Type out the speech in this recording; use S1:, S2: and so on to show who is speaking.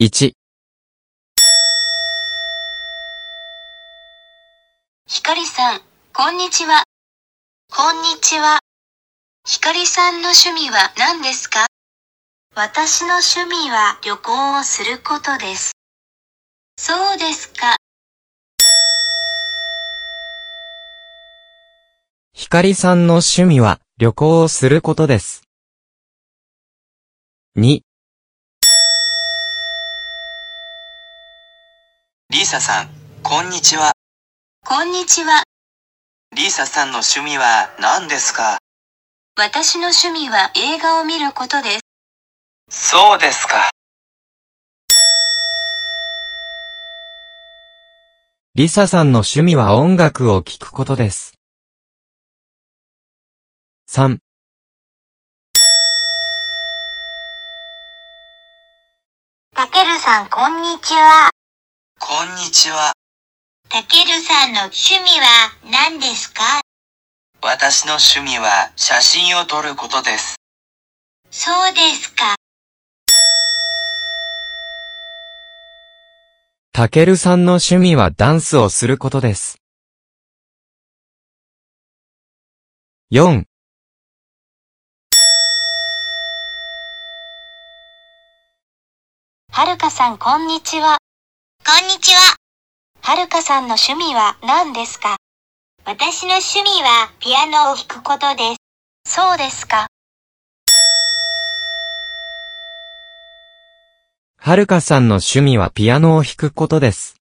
S1: 1、
S2: ひかりさん、こんにちは。こんにちは。ひかりさんの趣味は何ですか私の趣味は旅行をすることです。そうですか。
S1: ひかりさんの趣味は旅行をすることです。2、
S3: リーサさん、こんにちは。
S2: こんにちは。
S3: リーサさんの趣味は何ですか
S2: 私の趣味は映画を見ることです。
S3: そうですか。
S1: リサさんの趣味は音楽を聴くことです。3、
S2: たけるさん、こんにちは。
S3: こんにちは。
S2: たけるさんの趣味は何ですか
S3: 私の趣味は写真を撮ることです。
S2: そうですか。
S1: たけるさんの趣味はダンスをすることです。4、
S2: はるかさん、こんにちは。こんにちは。はるかさんの趣味は何ですか私の趣味はピアノを弾くことです。そうですか。
S1: はるかさんの趣味はピアノを弾くことです。